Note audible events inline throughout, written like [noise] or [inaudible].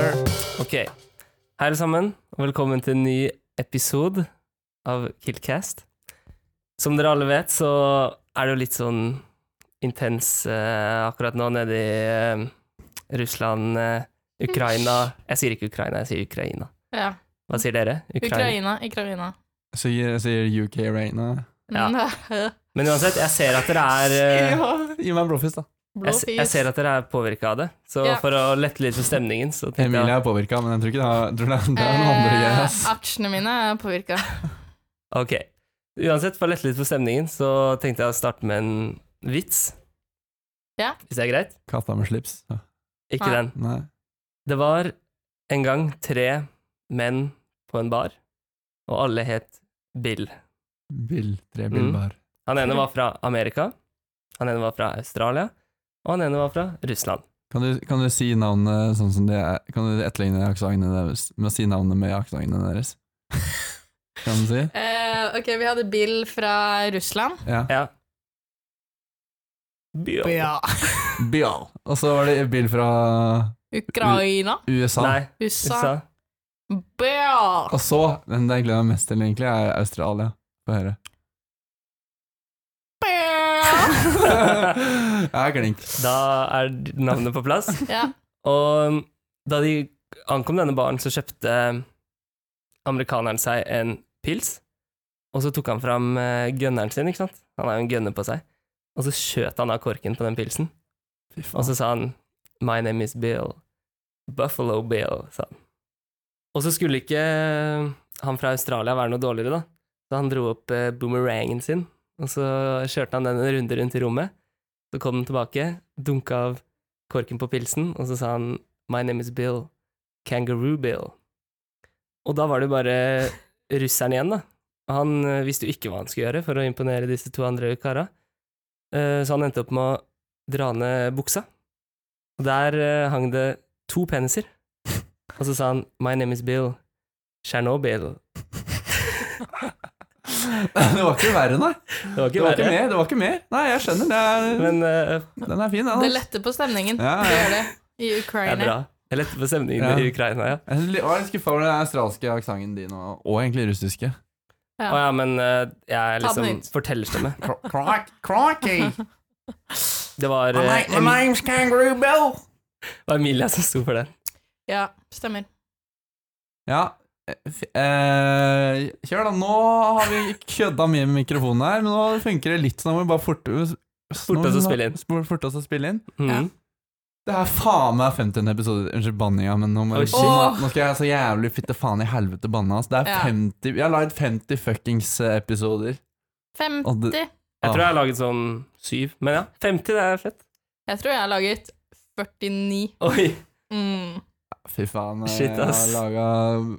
Ok. Hei, alle sammen, og velkommen til en ny episode av Killcast. Som dere alle vet, så er det jo litt sånn intens eh, akkurat nå nede i eh, Russland, eh, Ukraina Jeg sier ikke Ukraina, jeg sier Ukraina. Ja. Hva sier dere? Ukraina, Ukraina. Jeg sier, jeg sier UK right now. Ja. Ja. Men uansett, jeg ser at dere [laughs] er eh, Gi meg en blåfist, da. [laughs] Blå jeg, s- jeg ser at dere er påvirka av det, så Ja. for å lette litt på stemningen så tenkte Emilie jeg er påvirka, men jeg tror ikke det er, tror det er, det er noen andre greier. ass. Eh, aksjene mine er påvirka. Ok. Uansett, for å lette litt på stemningen, så tenkte jeg å starte med en vits. Ja. Hvis det er greit? Katta med slips. Ja. Ikke Nei. den. Nei. Det var en gang tre menn på en bar, og alle het Bill. Bill. Tre Mm. billbar. Han ene var fra Amerika, han ene var fra Australia, og han ene var fra Russland. Kan, du, kan du si navnet sånn som det er? Kan du etterligne aksentene deres? Med å si navnet med aksentene deres? [laughs] kan du si? Eh, ok, vi hadde Bill fra Russland. Ja. Ja. Bill. Bill. Og så var det Bill fra Ukraina. USA. Nei, USA. USA. Bill. Og så, den jeg gleder meg mest til, egentlig, er Australia. Få [laughs] høre. [laughs] Bill. Jeg er klink. [laughs] Da er navnet på plass. Ja. Og um, da de ankom denne baren, så kjøpte um, amerikaneren seg en pils. Og så tok han fram eh, gunneren sin, ikke sant? Han har jo en gunner på seg. Og så skjøt han av korken på den pilsen. Fy faen. Og så sa han My name is Bill. Buffalo Bill, sa han. Og så skulle ikke uh, han fra Australia være noe dårligere, da. Så han dro opp eh, boomerangen sin, og så kjørte han den en runde rundt i rommet. Så kom den tilbake, dunka av korken på pilsen, og så sa han My name is Bill. Kangaroo Bill. Og da var det jo bare [laughs] russeren igjen, da. Og han eh, visste jo ikke hva han skulle gjøre for å imponere disse to andre kara. Eh, Så han endte opp med å dra ned buksa. Og der eh, hang det to peniser. Og så sa han 'My name is Bill'. Tsjernobyl. Det var ikke verre, nei. Det var ikke Det var ikke verre. mer. det var ikke mer. Nei, jeg skjønner. Det er, Men eh, den altså. er fin, Det den. ass. letter på stemningen. Ja, Det ja. gjør det. det I er Ukraina. bra. Jeg lette på stemningen Ja. i Ukraina, ja. Jeg var litt skuffa over den australske aksenten din, og, og egentlig russiske. Ja. Å ja, men eh, jeg er Ta den liksom ut. fortellerstemme. [laughs] Crocky! Det var, eh, Em- name's Kangaroo Bill. det var Emilia som sto for den. Ja, stemmer. Ja, f- eh, kjør da. Nå har vi kødda mye med mikrofonen her, men nå funker det litt, så nå må vi bare forte Forte oss å spille inn. Spor- Forte oss å spille inn. Mm. Ja. Det er faen meg 50. episode. Unnskyld banninga, men nå, må Oi, jeg, shit. nå, nå skal jeg så jævlig fitte faen i helvete banne. ass. Det er Ja. 50, jeg har lagd 50 fuckings eh, episoder. Og 50. det- Jeg tror jeg har laget sånn syv, men ja. 50, det er fett. Jeg tror jeg har laget 49. Oi. Mm. Fy faen, eh, Shit, ass. jeg har laga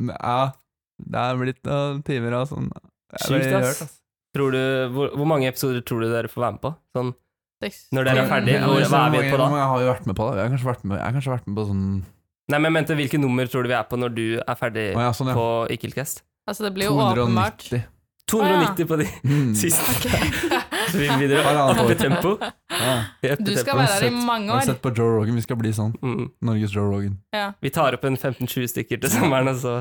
Ja, det er blitt noen timer og sånn. Jeg [laughs] Sjukt, blir ass. rørt, ass. Tror du, hvor, hvor mange episoder tror du dere får være med på? Sånn, Seks. når dere er ferdig, Men- hvor, men- hva er vi på da? hvor mange har vi vært med på da? Jeg har kanskje vært med, jeg har kanskje vært med på sånn Nei, men jeg mente, hvilke nummer tror du vi er på når du er ferdig Å ja, sånn ja. på Ikkelcast? Altså, det blir jo åpenbart 290. 290 på de Mm. siste. [laughs] Ok. Så vi vil videre [laughs] Halvannet år. opp i [laughs] tempo. Ja. Vi er oppe i Du skal tempo. være her i mange Har år. du sett på Joe Rogan? Vi skal bli sånn. Mm. Norges Joe Rogan. Ja. Vi tar opp en 15-20 stykker til sommeren, og så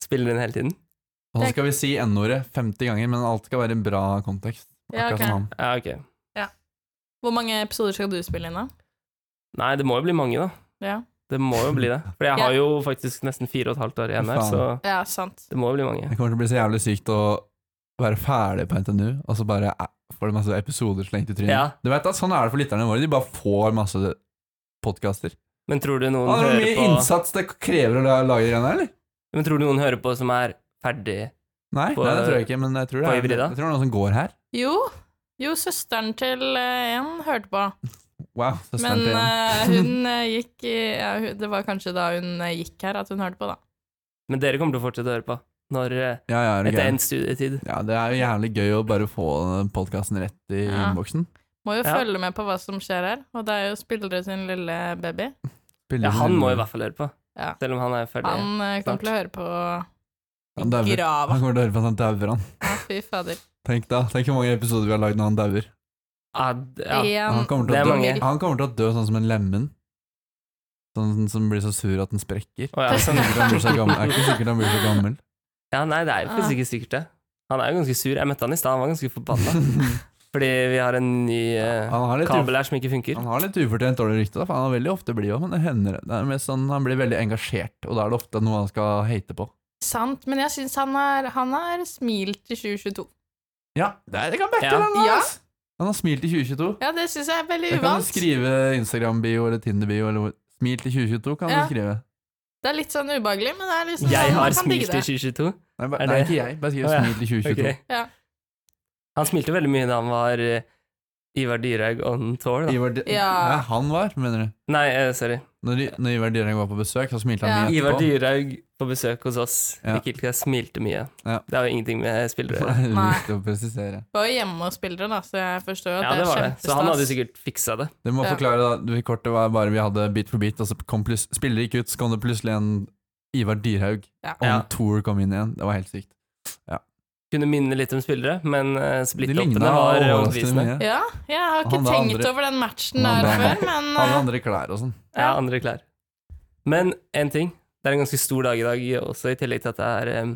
spiller vi den hele tiden. Og så skal vi si N-ordet 50 ganger, men alt skal være i bra kontekst. Ja, Akkurat ok. som han. Ja, ok. Hvor mange episoder skal du spille inn, da? Nei, det må jo bli mange, da. Ja, Det må jo bli det. For jeg har jo faktisk nesten fire og et halvt år igjen her, Faen. så ja sant. det må jo bli mange. Det kommer til å bli så jævlig sykt å være ferdig på NTNU, og så bare eh, får du masse episoder slengt i trynet. Ja. Du vet at Sånn er det for lytterne våre. De bare får masse podkaster. Men tror du noen Hvor Sånn hører mye på innsats det krever å la- lage de greiene her, eller? Men tror du noen hører på som er ferdig Nei, På- nei, det tror jeg ikke, men jeg tror det på er, jeg Ivrida? tror det er noen som går her. Jo, jo søsteren til eh, en hørte på. Wow, så Men stent igjen. eh, hun eh, gikk i ja, hun, Det var kanskje da hun eh, gikk her, at hun hørte på, da. Men dere kommer til å fortsette å høre på når, eh, Ja, ja, er det etter gøy? endt studietid. Ja, det er jo jævlig gøy å bare få podkasten rett i Ja. innboksen. Må jo Ja. følge med på hva som skjer her. Og det er jo spillere sin lille baby. Spiller Ja, han må i inn- hvert fall høre på. Ja. Selv om han er ferdig. Han eh, Snart. kommer til å høre på Han dauer. grava. [laughs] Han kommer til å høre på at han dauer, han. Ja, fy fader. Tenk da, tenk hvor mange episoder vi har lagd når han dauer. Ja, Ah, d- ja. En Han kommer til det å er dø. mange. Han kommer til å dø sånn som en lemen. Sånn som blir så sur at den sprekker. Å ja, sånn. [laughs] Det er ikke sikkert han blir så gammel. Det er ikke sikkert han blir så gammel. ja, nei, det er jo faktisk ikke sikkert det. Han er jo ganske sur. Jeg møtte han i stad, han var ganske forbanna. [laughs] Fordi vi har en ny eh, Han har litt, uf kabel her som ikke funker. han har litt ufortjent dårlig rykte, da, for han er veldig ofte blid òg, men det hender det er mest sånn, han blir veldig engasjert, og da er det ofte noe han skal hate på. Sant, men jeg syns han er Han er smilt i 2022. Ja, det er- jeg kan backe Ja. den! Ja. ass. Han har smilt i 2022. Ja, det syns jeg er veldig Det kan du uvant. skrive Instagram-bio eller Tinder-bio eller hvor- Smilt i 2022 kan Ja. du skrive. Det er litt sånn ubehagelig, men det er liksom Jeg sånn, har man kan digge smilt i det. 2022. Nei, ba, Er nei det- ikke jeg. Bare skriv Å, ja. 'smilt i 2022'. Ok. Ja. Han smilte veldig mye da han var eh, Ivar Dyrhaug on tour. Da. [laughs] Ivar, Di- Ja. Nei, han var, mener du? Nei, eh, sorry. Når, I- når Ivar Dyrhaug var på besøk, så smilte han Ja. mye Ivar etterpå. Dyrhaug på besøk hos oss. Ja. Ikke ikke jeg smilte mye. Ja. Det har jo ingenting med spillere å gjøre. [laughs] [laughs] Det er Nei. viktig å presisere. Jeg var jo hjemme og spillere, da, så jeg forstår jo at Ja, det det var er det. Så han hadde kjempestas. sikkert fiksa det. Du må Ja. forklare, da. Du, kortet var bare vi hadde Beat for beat, og så kom plus, spiller gikk ut, så kom det plutselig en Ivar Dyrhaug. Ja. On Ja. tour kom inn igjen. Det var helt sykt. Kunne minne litt om spillere, men eh, De splittoppene ligna var overraskende overbevisende. mye. Ja, jeg har ikke Han hadde tenkt andre- over den matchen Han der hadde- før, men Alle eh, andre klær og sånn. Ja, andre klær. Men én ting. Det er en ganske stor dag i dag, også i tillegg til at det er eh,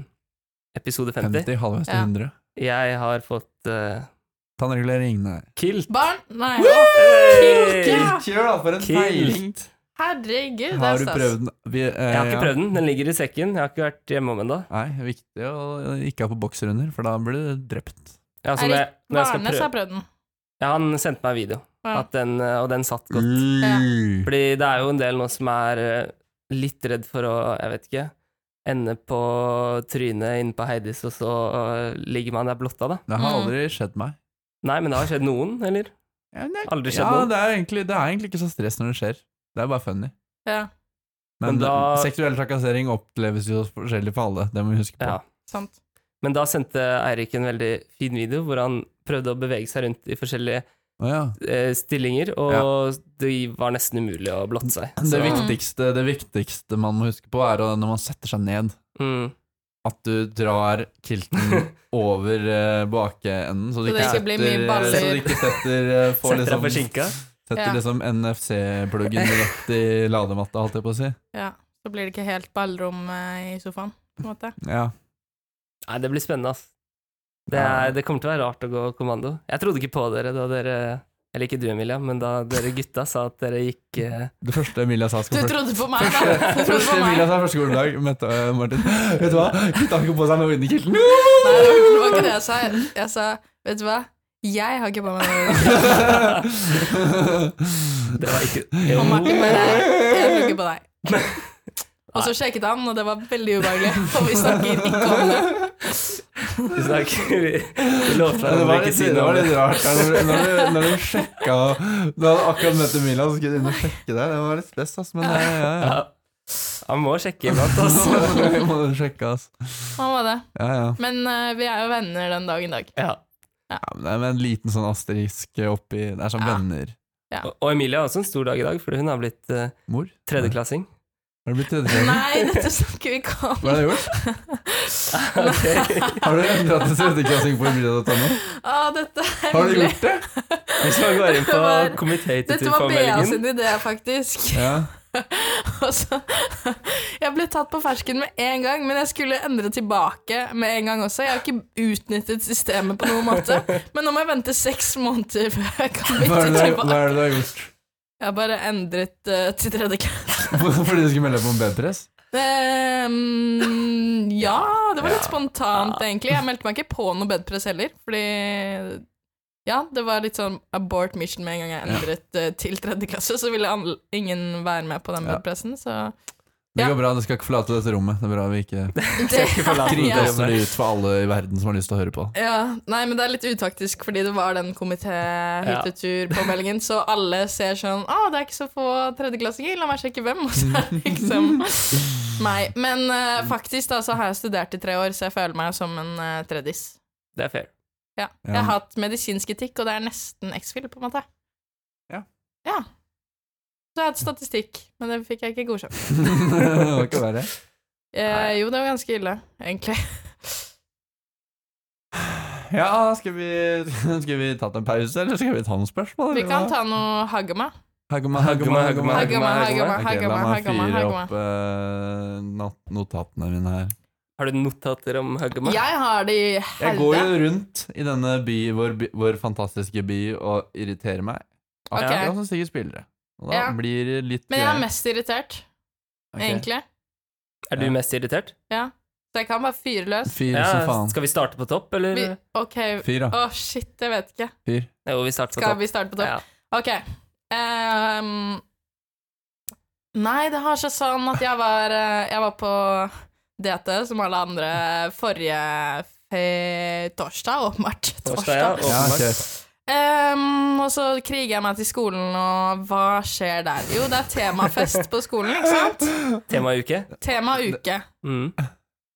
episode 50. 50, halvveis til Ja. 100. Jeg har fått eh, Tannregulering, nei. kilt. barn Nei, Hey! Kilt, ja! Kjør, da, for en feiring! Kilt. herregud, det Har er du stas. prøvd den? Vi, eh, Jeg har ja. ikke prøvd den. Den ligger i sekken. Jeg har ikke vært hjemme om ennå. Nei, det er viktig å ikke ha på bokserunder, for da blir du drept. Ja, så Altså, når jeg, Erik når jeg skal Barnes prøve- har prøvd den. ja, han sendte meg en video, Ja. at den, eh, og den satt godt. Mm. Fordi det er jo en del nå som er eh, litt redd for å, jeg vet ikke, ende på trynet inne på Heidis, og så eh, ligger man der blotta, da. Det har Mm. aldri skjedd meg. Nei, men det har skjedd noen, eller? Ja, det, Aldri skjedd ja, noe. det, er egentlig, det er egentlig ikke så stress når det skjer. Det er bare funny. Ja, Men Men, da- seksuell trakassering oppleves jo forskjellig for alle. Det må vi huske på. Ja. sant. Men da sendte Eirik en veldig fin video hvor han prøvde å bevege seg rundt i forskjellige Å ja. eh, stillinger, og det var nesten umulig å blotte seg. det, Så- viktigste, det viktigste man må huske på, er å, når man setter seg ned, Mm. at du drar [laughs] kilten over eh, bakeenden, så du Så det ikke ikke blir mye baller. Så du ikke setter, eh, får Setter deg på liksom, skinka. setter Ja. liksom NFC-pluggen rett i ladematta, holdt jeg på å si. Ja. Så blir det ikke helt ballrom eh, i sofaen, på en [laughs] måte. Ja. Nei, det blir spennende, ass. Det, Ja. er, det kommer til å være rart å gå kommando. Jeg trodde ikke på dere da dere Eller ikke du, Emilia, men da dere gutta sa at dere gikk eh, Det første Emilia sa Du skulle trodde på meg, da! Du Det trodde første på meg. Emilia sa første skoledag, møtte øh, Martin Vet du hva? Gutta har ikke på seg noe under kilten. Nei, det var ikke- det var ikke det jeg sa. Jeg- Jeg sa, vet du hva, jeg har ikke på meg noe. Det var [laughs] ikke Og jo. Martin bare Jeg tror ikke [laughs] på deg. Og så sjekket han, og det var veldig ubehagelig. Og vi snakker ikke om det. Vi snakker Vi vi lovte Ja, Det hverandre var ikke litt, si det noe var om det. litt rart. Ja, Når du, når du, når du sjekka Du hadde akkurat møtt Emilia, så skulle du inn og sjekke deg. Det var litt stress, ass. Men eh, ja, ja, ja. [laughs] Ja. altså. Han må sjekke iblant, [laughs] ass. Du må sjekke, ass. Han var det. Ja, ja. Men eh, vi er jo venner den dag i [laughs] dag. Ja. ja men det er med en liten sånn asterisk oppi Det er sånn Ja. venner. Og- Og Emilie har også en stor dag i dag, fordi hun har blitt eh, Mor? tredjeklassing. Har du blitt tredjeklassing? Nei, dette snakker vi ikke om. Hva har du gjort? Ok. Har du endret til tredjeklassing på Emilia.no? Å, dette er Har du hyggelig. gjort det? Hvis man går inn på Det var- komité til Dette var Bea turformeldingen sin idé, faktisk. [laughs] Ja. Og så [laughs] Jeg ble tatt på fersken med en gang, men jeg skulle endre tilbake med en gang også. Jeg har ikke utnyttet systemet på noen [laughs] måte, men nå må jeg vente seks måneder før jeg kan Hva bytte er det du har- tilbake. hva er det du har gjort? [laughs] Jeg har bare endret eh, til tredje klasse. Fordi du skulle melde deg på en B-press? Ehm, ja, det var litt Ja. spontant, egentlig. Jeg meldte meg ikke på noe bedpress heller, fordi ja, det var litt sånn abort mission med en gang jeg endret eh, til tredje klasse, så ville an- ingen være med på den Ja. bedpressen, så Det Ja. går bra, det skal ikke forlate dette rommet. Det er bra vi ikke det, ikke forlate ja. det. kringkaster det ut for alle i verden som har lyst til å høre på. ja, Nei, men det er litt utaktisk, fordi det var den komité-hyttetur-påmeldingen, så alle ser sånn Å, det er ikke så få tredjeklassinger, la meg sjekke hvem, og så er det liksom meg. Men eh, faktisk da, så har jeg studert i tre år, så jeg føler meg som en eh, tredis. Det er fair. Ja. Ja. Jeg har hatt medisinsk etikk, og det er nesten X-Fill, på en måte. Ja. Ja. Så jeg hadde statistikk, men det fikk jeg ikke godkjent. det var ikke verre. Eh, jo, det var ganske ille, [laughs] egentlig. Ja, skal vi, skal vi tatt en pause, eller skal vi ta noen spørsmål? Vi eller kan hva? ta noe Hagema. Hagma, Hagma, hagma, hagma, hagma, Ok, hagma, la meg hagma, fyre hagma. opp eh, not notatene mine her. Har du notater om Hagma? Jeg har det i Jeg går helvete. jo rundt i denne by, vår, by, vår fantastiske by, og irriterer meg. Ok. Det er også sikkert spillere. Og da Ja. blir det litt Men jeg er gøy. mest irritert, Ok. egentlig. Er du Ja. mest irritert? Ja. Så jeg kan bare fyre løs. Fyr Ja, som faen. skal vi starte på topp, eller? Vi, ok. Å, Fyr, da. shit, jeg vet ikke. Fyr. Jo, vi starter på Skal topp. vi starte på topp? Ja. Ok. Ehm, nei, det har seg sånn at jeg var, eh, jeg var på DT, som alle andre, forrige fe torsdag, åpenbart. Torsdag, ja. Ja, Åpenbart. kjør. Ehm, og så kriger jeg meg til skolen, og hva skjer der? Jo, det er temafest på skolen, ikke sant? Temauke. Tema uke. Mm.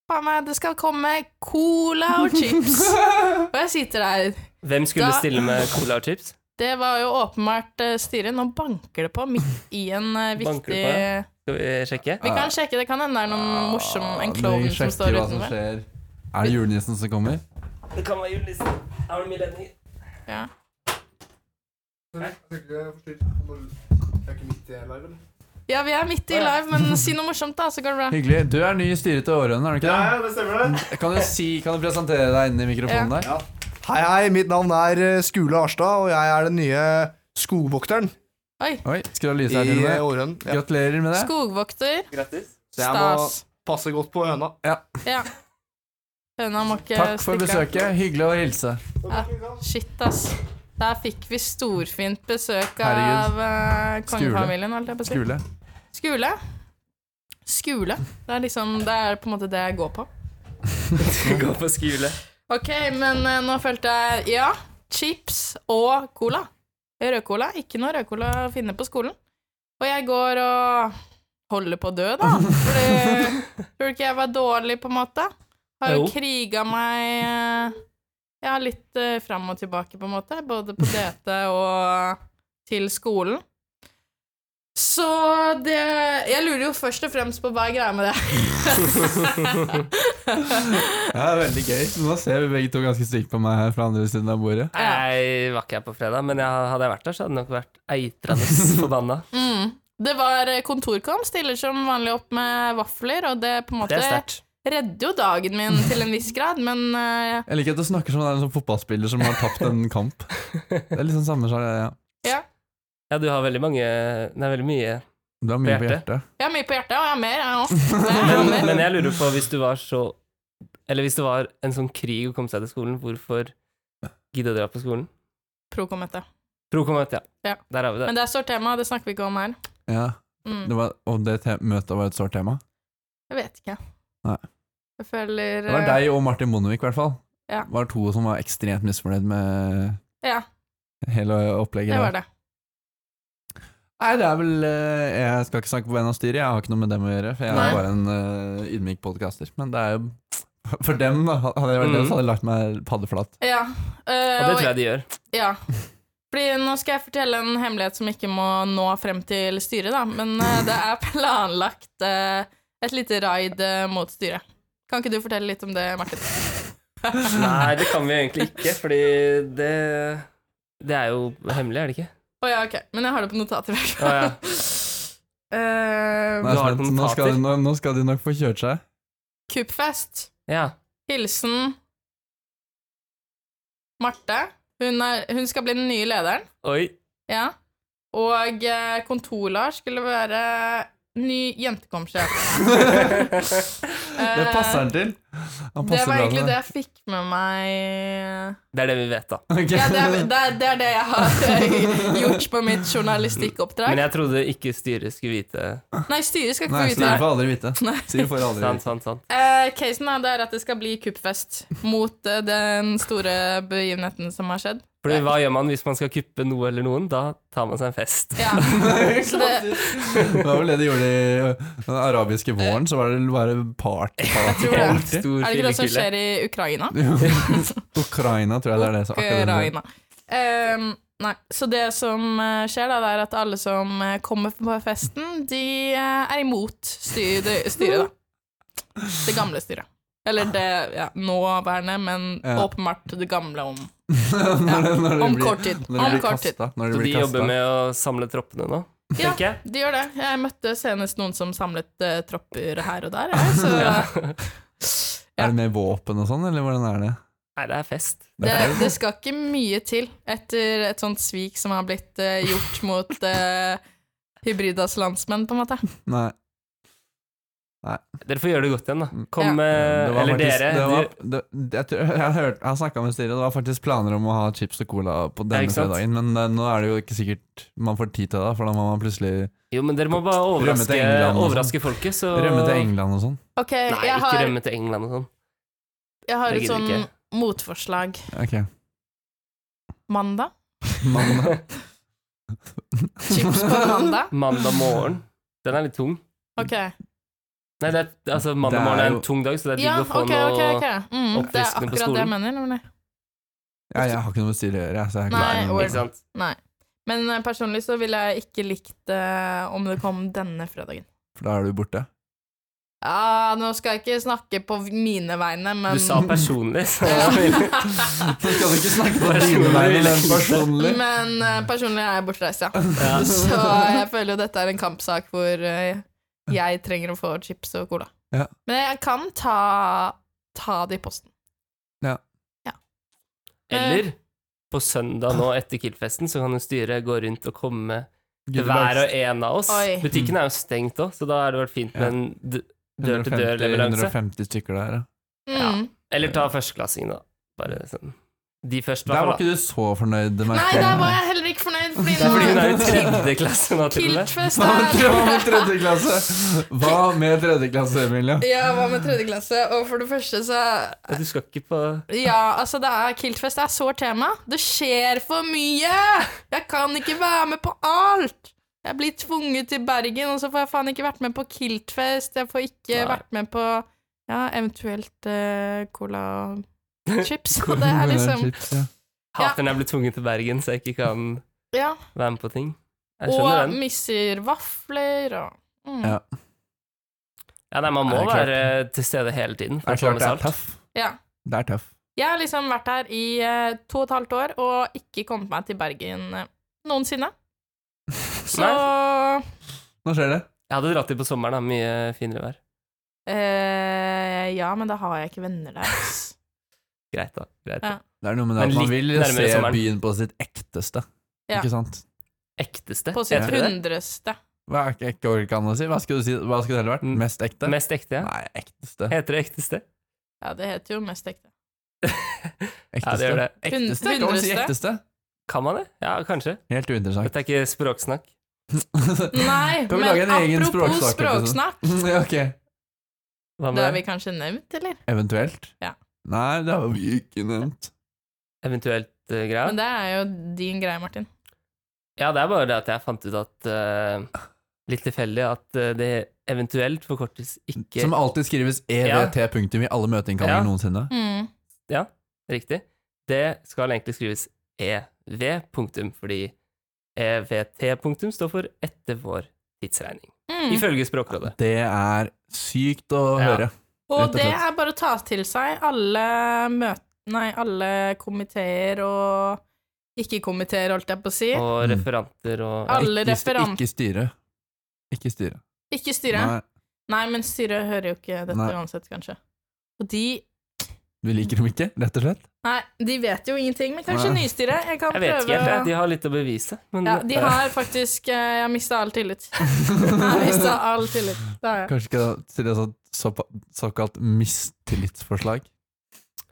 Faen meg, det skal komme cola og [laughs] chips. Og jeg sitter der. Hvem skulle Da- stille med cola og chips? Det var jo åpenbart eh, styret. Nå banker det på midt i en eh, Banker det på, viktig ja? Skal vi sjekke? Vi kan sjekke, det kan hende det er noen morsom en klovn Vi som sjekker står hva som utenfor. skjer. Er det julenissen som kommer? Det kan være julenissen. Her er det mye ledninger. Ja. ja, vi er midt i live, men si noe morsomt, da, så går det bra. Hyggelig. Du er ny i styret til Årøen, er du ikke det? det stemmer det. Kan du, si, kan du presentere deg inn i mikrofonen der? Hei, hei. Mitt navn er eh, Skule Arstad, og jeg er den nye skogvokteren Oi. Oi, skru av lyset i her til og eh, med. Årøen. Ja. Gratulerer med det. Skogvokter. Grattis. Så jeg må Stas. passe godt på [laughs] høna. Ja. Høna må ikke Takk stikke for av. besøket. Hyggelig å hilse. Shit, ass. Der fikk vi storfint besøk Herregud. av eh, kongefamilien, holdt jeg på å si. Skule. Skule. Skule. Det er liksom Det er på en måte det jeg går på. Gå på skole. Ok, men eh, nå følte jeg Ja, chips og cola. Rødcola. Ikke noe rødcola å finne på skolen. Og jeg går og holder på å dø, da. Fordi, tror du ikke jeg var dårlig, på en måte? Har jo Jo. kriga meg eh, Jeg har litt eh, fram og tilbake, på en måte. Både på DT og til skolen. Så det Jeg lurer jo først og fremst på hva er greia med det. Ja, veldig gøy. Nå ser vi begge to ganske stygt på meg her fra andre siden av bordet. Jeg var ikke her på fredag, men jeg, hadde jeg vært der, så hadde jeg nok vært [laughs] eitrende forbanna. Mm. Det var kontorkom, stiller som vanlig opp med vafler, og det på en Det måte er sterkt. redder jo dagen min til en viss grad, men eh, Jeg liker at du snakker som en sånn fotballspiller som har tapt en kamp. Det er liksom samme som ja. ja. Ja, du har veldig mange Det er veldig mye. Du har mye på Hjerte. hjertet. Jeg har mye på hjertet, og jeg har mer, [laughs] jeg òg. Men, men jeg lurer på, hvis du var så Eller hvis det var en sånn krig å komme seg til skolen, hvorfor gidde å dra på skolen? Prokom etter. Prokommet, ja. Ja. Der har vi det. Men det er sårt tema, det snakker vi ikke om her. Ja. Mm. Det var, og det te møtet var et sårt tema. Jeg vet ikke. Nei. Jeg føler Det var eh, deg og Martin Bondevik, i hvert fall. Ja. Det var to som var ekstremt misfornøyd med Ja, hele opplegget. det der. var det. Nei, det er vel eh, Jeg skal ikke snakke på vegne av styret, jeg har ikke noe med dem å gjøre. For jeg Nei. er bare en eh, ydmyk podkaster. Men det er jo For dem, da. Hadde jeg vært dem, Mm. så hadde jeg lagt meg paddeflat. Ja. eh, Og det tror jeg de gjør. [laughs] Ja. Fordi nå skal jeg fortelle en hemmelighet som ikke må nå frem til styret, da. Men eh, det er planlagt eh, et lite raid eh, mot styret. Kan ikke du fortelle litt om det, Martin? Nei, det kan vi jo egentlig ikke, fordi det Det er jo hemmelig, er det ikke? Å ja, ok. Men jeg har det på notatet. i hvert Å, ja. fall. [laughs] Nå, Eh, Du har sånn nå, notater. skal de, nå, nå skal de nok få kjørt seg. Kuppfest. ja. Hilsen Marte. Hun, er, hun skal bli den nye lederen. Oi. Ja. Og eh, Kontor-Lars skulle være ny [laughs] jentekomsjef. Eh, Det passer han til. Han Det var passer bra egentlig til det jeg fikk med meg Det er det vi vet, da. [laughs] Ok. Ja, det er det, er, det, er det jeg har [laughs] gjort på mitt journalistikkoppdrag. Men jeg trodde ikke styret skulle vite Nei, styret skal Nei, ikke få Siri vite det. får aldri vite. Nei. Siri får aldri Sant, vite. sant, sant. Eh, casen er det er at det skal bli kuppfest mot eh, den store begivenheten som har skjedd. Fordi hva gjør man hvis man skal kuppe noe eller noen? Da tar man seg en fest. [laughs] Ja. Så det, Det var vel det de gjorde i ø, den arabiske våren, så var det bare party. [laughs] tror det. En party. stor er det ikke det som fyllekule. skjer i Ukraina? Ukraina, tror jeg det er det som akkurat det. Ukraina. Ehm, nei, så det som eh, skjer, da, det er at alle som eh, kommer på festen, de eh, er imot styr, det- styret, da. Det gamle styret. Eller det ja, nåværende, men Ja. åpenbart det gamle om når det, [laughs] når det Om blir- kort tid. Når det Om blir kort tid. kastet, når det Så de blir kastet. jobber med å samle troppene nå, Ja. tenker jeg. De gjør det. Jeg møtte senest noen som samlet eh, tropper her og [laughs] der. Jeg, så ja. Er det med våpen og sånn, eller hvordan er det? Nei, det er fest. det, det skal ikke mye til etter et sånt svik som har blitt eh, gjort mot eh, Hybridas landsmenn, på en måte. Nei, Dere får gjøre det godt igjen, da. Mm. Ja. Kom med det var Eh, Eller faktisk, dere. Det var, du- det, jeg tror- jeg har hørt- jeg har snakka med styret, det var faktisk planer om å ha chips og cola på denne ikke sant? fredagen, men eh, nå er det jo ikke sikkert man får tid til det, for da må man plutselig jo, men dere må bare Rømme til overraske, England og sånn. overraske folket, så rømme til England og sånn. Ok, Nei, Eh, ikke jeg har, rømme til England og sånn. jeg har Det et gidder sånn vi ikke. motforslag. Ok. Mandag? Mandag. Chips på mandag? Mandag morgen. Den er litt tung. Ok. Nei, det er, altså, mandag Det er morgen er en jo- tung dag, så det er digg Ja, å få ok, noe ok. ok. Mm, det er oppfriskende på akkurat det jeg mener. nemlig. Ja, jeg har ikke noe med styret å gjøre, jeg, så jeg Nei, er Ikke ikke sant? Nei. Men eh, personlig så ville jeg ikke likt det om det kom denne fredagen. For da er du borte. Ja, Ah, nå skal jeg ikke snakke på mine vegne, men Du [laughs] sa personlig, så Så skal du ikke snakke på Personlig. dine vegne, men personlig. Men eh, personlig er jeg [laughs] bortreist, ja. ja. Så jeg føler jo dette er en kampsak hvor eh, jeg trenger å få chips og cola. Ja. Men jeg kan ta, ta det i posten. Eh. Eller på søndag nå etter Kill-festen, så kan jo styret gå rundt og komme til hver og en av oss. Oi. Butikken er jo stengt òg, så da hadde det vært fint med Ja. en d- 150 dør-til-dør-leveranse. 150 stykker der, ja. Mm. Ja. Eller ta førsteklassingen, da. Bare sånn De først, i hvert Der var fall. da. ikke du så fornøyd, Nei, merker der var jeg heller ikke fornøyd, fordi Det er fordi hun nå er i tredje klasse nå, til og med. Kiltfest [laughs] Hva med, hva med er tredje klasse? Hva med tredje klasse, Emilie? Ja, hva med tredje klasse? Og for det første så Ja, Du skal ikke på Ja, altså det er Kiltfest det er sårt tema. Det skjer for mye! Jeg kan ikke være med på alt! Jeg blir tvunget til Bergen, og så får jeg faen ikke vært med på Kiltfest. Jeg får ikke Nei. vært med på ja, eventuelt eh, cola [laughs] og chips. Og [laughs] det er liksom Chips, ja. Hater når jeg blir tvunget til Bergen, så jeg ikke kan Ja. være med på ting. Jeg skjønner Og den. misser vafler og mm. Ja. Ja, nei, man må Er det klart? være til stede hele tiden. Det For er å få klart med seg det er alt. tøff. ja. Det er tøff. Jeg har liksom vært her i eh, to og et halvt år og ikke kommet meg til Bergen eh, noensinne. Så Nå skjer det. Jeg hadde dratt dit på sommeren, da. Mye finere vær. Eh, ja, men da har jeg ikke venner der. ass. Greit, da. Greit. da. Ja. Det er noe med det Men at man litt vil nærmere se sommeren. byen på sitt ekteste. Ja. Ikke sant? Ekteste. På sitt Heter det det? hundreste. Hva er ikke ikke orker han å si? Hva skulle du si? Hva skulle det heller vært? Mm. Mest ekte? Mest ekte, ja. Nei, ekteste. Heter det ekteste? Ja, det heter jo mest ekte. Ekteste. Ja, det gjør det. Ekteste? Kan man si ekteste? Kan man det? Ja, kanskje. Helt [laughs] uinteressant. Dette er ikke språksnakk. Mm. Nei, Kan vi lage men en egen liksom? apropos språksak, språksnakk, Ja, [laughs] ok. Hva det har med vi kanskje nevnt, eller? Eventuelt? Ja. Nei, det har vi ikke nevnt. eventuelt uh, greia? Men det er jo din greie, Martin. Ja, det er bare det at jeg fant ut at eh, Litt tilfeldig at eh, det eventuelt forkortes ikke Som alltid skrives E EVT-punktum i alle Ja. møteinnkallinger noensinne. Mm. riktig. Det skal egentlig skrives EV, punktum, fordi EVT, punktum, står for etter vår tidsregning. Mm. Ifølge Språkrådet. Det er sykt å Ja. høre. Og rett og det slett. er bare å ta til seg alle møt... Nei, alle komiteer og ikke-komiteer, holdt jeg på å si. Og Mm. referanter og ja. Alle Ikke st- referan- Ikke styre. Ikke styre. Ikke styret. Nei. Nei, men styret hører jo ikke dette Nei. uansett, kanskje. Og de du liker dem ikke, rett og slett? Nei, de vet jo ingenting, men kanskje Nei. nystyret? Jeg kan Jeg vet ikke prøve helt, jeg. å- de har litt å bevise. Men Ja, de har faktisk eh, Jeg har mista all tillit. Jeg har mista all tillit. Det har jeg. Kanskje ikke stille et sånt såpa- såkalt mistillitsforslag?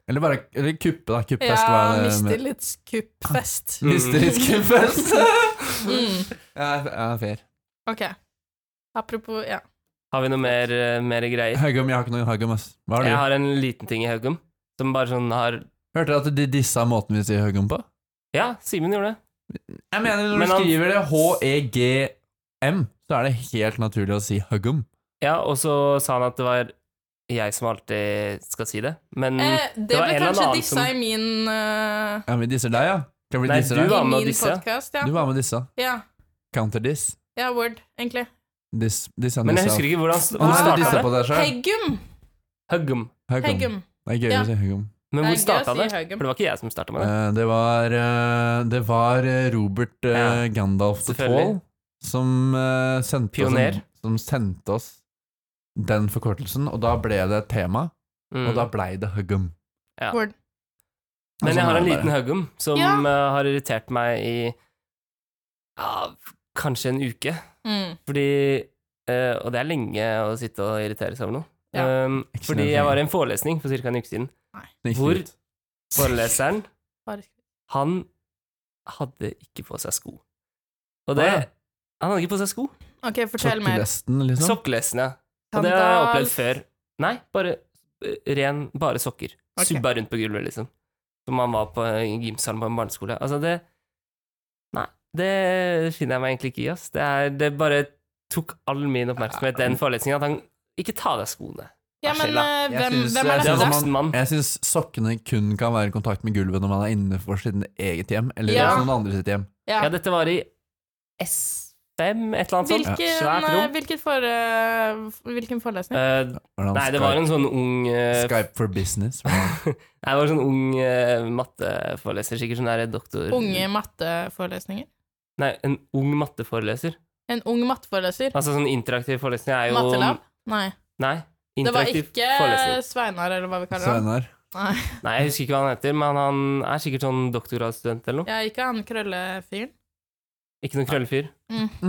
Eller bare eller kuppe, da. Kuppfest. Ja, hva er det [laughs] med- [laughs] mistillitskuppfest. Mistillitskuppfest! [laughs] Mm. ja, ja, fair. Ok. Apropos Ja. Har vi noe mer, eh, mer greier? Haugom, jeg har ikke noe Haugom, ass. Hva har du? Jeg har en liten ting i Haugum som bare sånn har Hørte dere at de dissa måten vi sier Haugom på? Ja, Simen gjorde det. Jeg mener når Men du han- skriver det H-E-G-M, så er det helt naturlig å si Huggum. Ja, og så sa han at det var jeg som alltid skal si Mm. det, men Eh, det, var ble en eller kanskje annen dissa som- i min eh, Ja, vi disser deg, ja. Kan vi Nei, du disse deg? var I med å min disse, ja. podkast, ja. Du var med dissa. ja. Counterdiss. Ja, Word, egentlig. Diss, dissa, Men jeg husker ikke hvordan Å, nei, du han dissa starta det. på deg sjøl. Heggum! Huggum. Huggum. Heggum. Det er gøy Ja. å si Huggum. Men Det er hvor gøy å starta si det? Haugum. For det var ikke jeg som starta med det. Eh, Det var, eh, det var eh, Robert eh, Ja, Gandalf the selvfølgelig. Tall som eh, sendte Pioner. oss Som sendte oss den forkortelsen, og da ble det et tema, Mm. Eh, og da blei det Huggum. Ja. Word. Og Mm. Men jeg sånn har er en det liten bare. haugum som Ja. eh, har irritert meg i ja, kanskje en uke. Mm. Fordi eh, Og det er lenge å sitte og irritere seg over noe. Ja. Um, Ikke så fordi lenge. jeg var i en forelesning for ca. en uke siden. Det gikk Hvor- ut. Foreleseren, Bare- han hadde ikke på seg sko. Og det Å, ja. Han hadde ikke på seg sko. Ok, fortell mer. Sokkelesten, liksom. Sokkelesen, ja. Og det har jeg opplevd før. Nei, bare eh, ren, bare sokker. Ok. Subba rundt på gulvet, liksom. Som han var på en gymsalen på en barneskole. Altså, det Nei, det finner jeg meg egentlig ikke i, ass. Det, er, det bare tok all min oppmerksomhet, den forelesningen, at han Ikke ta av deg skoene. Ja, men Asjela. eh, Jeg hvem, synes- hvem er jeg Det er dette? synes man- voksen mann. Jeg syns sokkene kun kan være i kontakt med gulvet når man er innenfor sitt eget hjem, eller Ja. noen andre sitt hjem. Ja. Ja, dette var i S5, et eller annet sånt. Hvilken, Svært eh, rom. hvilket for, eh, hvilken forelesning? Eh, Hvordan nei, det var en sånn ung eh, Skype, Skype for business. hvordan- Nei, det var en sånn ung eh, matteforeleser, sikkert sånn der doktor... Unge matteforelesninger? Nei, en ung matteforeleser. En ung matteforeleser? Altså sånn interaktiv forelesning er jo Mattelab? Nei. Nei. Det var Interaktiv ikke forelesning. Sveinar, eller [laughs] hva vi kaller ham. Sveinar. Nei, Nei, jeg husker ikke hva han heter, men han er sikkert sånn doktorgradsstudent eller noe. jeg ikke han krøllefyren. Ikke noen krøllefyr. Mm.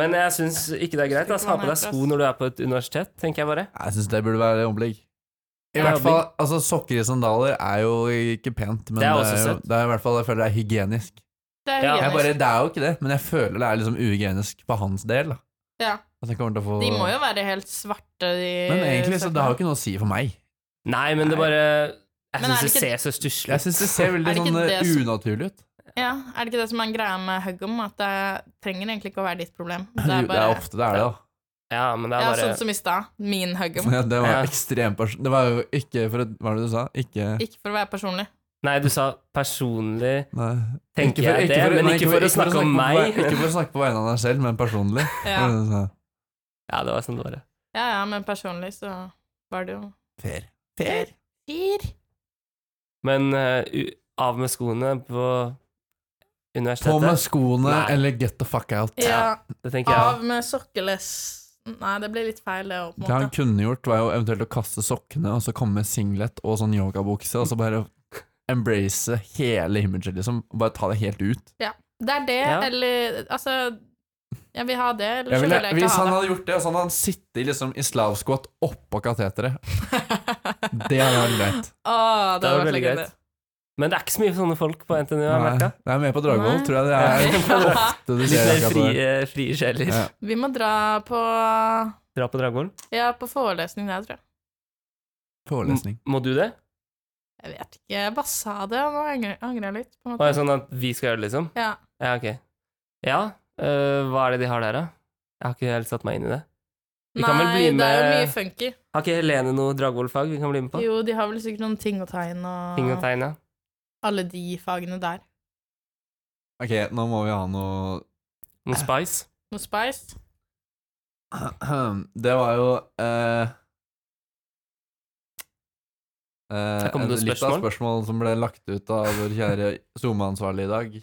Men jeg syns ikke det er greit. Altså, ha på deg sko når du er på et universitet, tenker jeg bare. Jeg syns det burde være omlegg. I Ja, hvert fall, altså Sokker i sandaler er jo ikke pent, Det men er det er, også jo, søtt. det er i hvert fall, jeg føler det er hygienisk. Det Ja, er Jeg hygienisk. bare, det er jo ikke det, men jeg føler det er liksom uhygienisk på hans del. da Ja. At jeg kommer til å få De må jo være helt svarte, de Men egentlig så det har jo ikke noe å si for meg. Nei, men det bare Jeg Men er syns det det ikke- ser så stusslig Jeg ut. syns det ser Er veldig det ikke sånn det eh, som- unaturlig ut. Ja, Er det ikke det som er greia med Huggum, at det trenger egentlig ikke å være ditt problem? [laughs] Det er, bare ofte det er det, da. Ja, men det Ja, er bare sånn som i stad. Min [laughs] Huggum. Ja, det var Ja. ekstremt person... Det var jo ikke for et, Hva var det du sa? Ikke Ikke for å være personlig. Nei, du sa personlig Nei. Tenker for- jeg det, for- men nei, ikke for å snakke om på- meg. Ikke for å snakke på vegne av deg selv, men personlig. Ja. Hva var det du sa? Ja, det var sånn det var. ja. ja, ja, men personlig så var det jo Fair. Fair. Fyr. Men eh, u- av med skoene på På universitetet, med skoene Nei. eller get the fuck out. Ja, det tenker jeg. av med sokkelegs Nei, det blir litt feil, det òg, på Det en han måte. kunne gjort, var jo eventuelt å kaste sokkene og så komme med singlet og sånn yogabukse, og så bare embrace hele imaget, liksom. og Bare ta det helt ut. Det er det, Ja. eller Altså, jeg vil ha det, eller Jeg så ville, vil jeg ikke hvis ha han det. hadde gjort det, så hadde han sittet liksom i slavskott oppå kateteret. Det hadde vært [laughs] greit. Åh, Det det var var veldig greit. Men det er ikke så mye sånne folk på NTNU, har jeg Nei, merka. Det er med på Dragvoll, Nei. tror [laughs] jeg det er. Det du Litt ser mer akkurat der. frie, frie sjeler. Ja. [laughs] Vi må dra på Dra på Dragvoll. Ja, på forelesning der, tror jeg. Forelesning. Må du det? Jeg vet ikke. Jeg bare sa det, og nå angrer angrer jeg litt. På en Og er måte. det sånn at vi skal gjøre det, liksom? Ja. Ja, ok. Ja, øh, hva er det de har der, da? Jeg har ikke helt satt meg inn i det. Vi kan vel Nei, bli det er jo med- mye funky. Har ikke Helene noe Dragvoll-fag vi kan bli med på? Jo, de har vel sikkert noen ting og tegn og, Ting og tegn, ja. alle de fagene der. Ok, nå må vi ha noe Noe spice. Noe spice. Det var jo eh, eh, Her kom det en- Litt av spørsmål. spørsmål som ble lagt ut av vår kjære SoMe-ansvarlig i dag.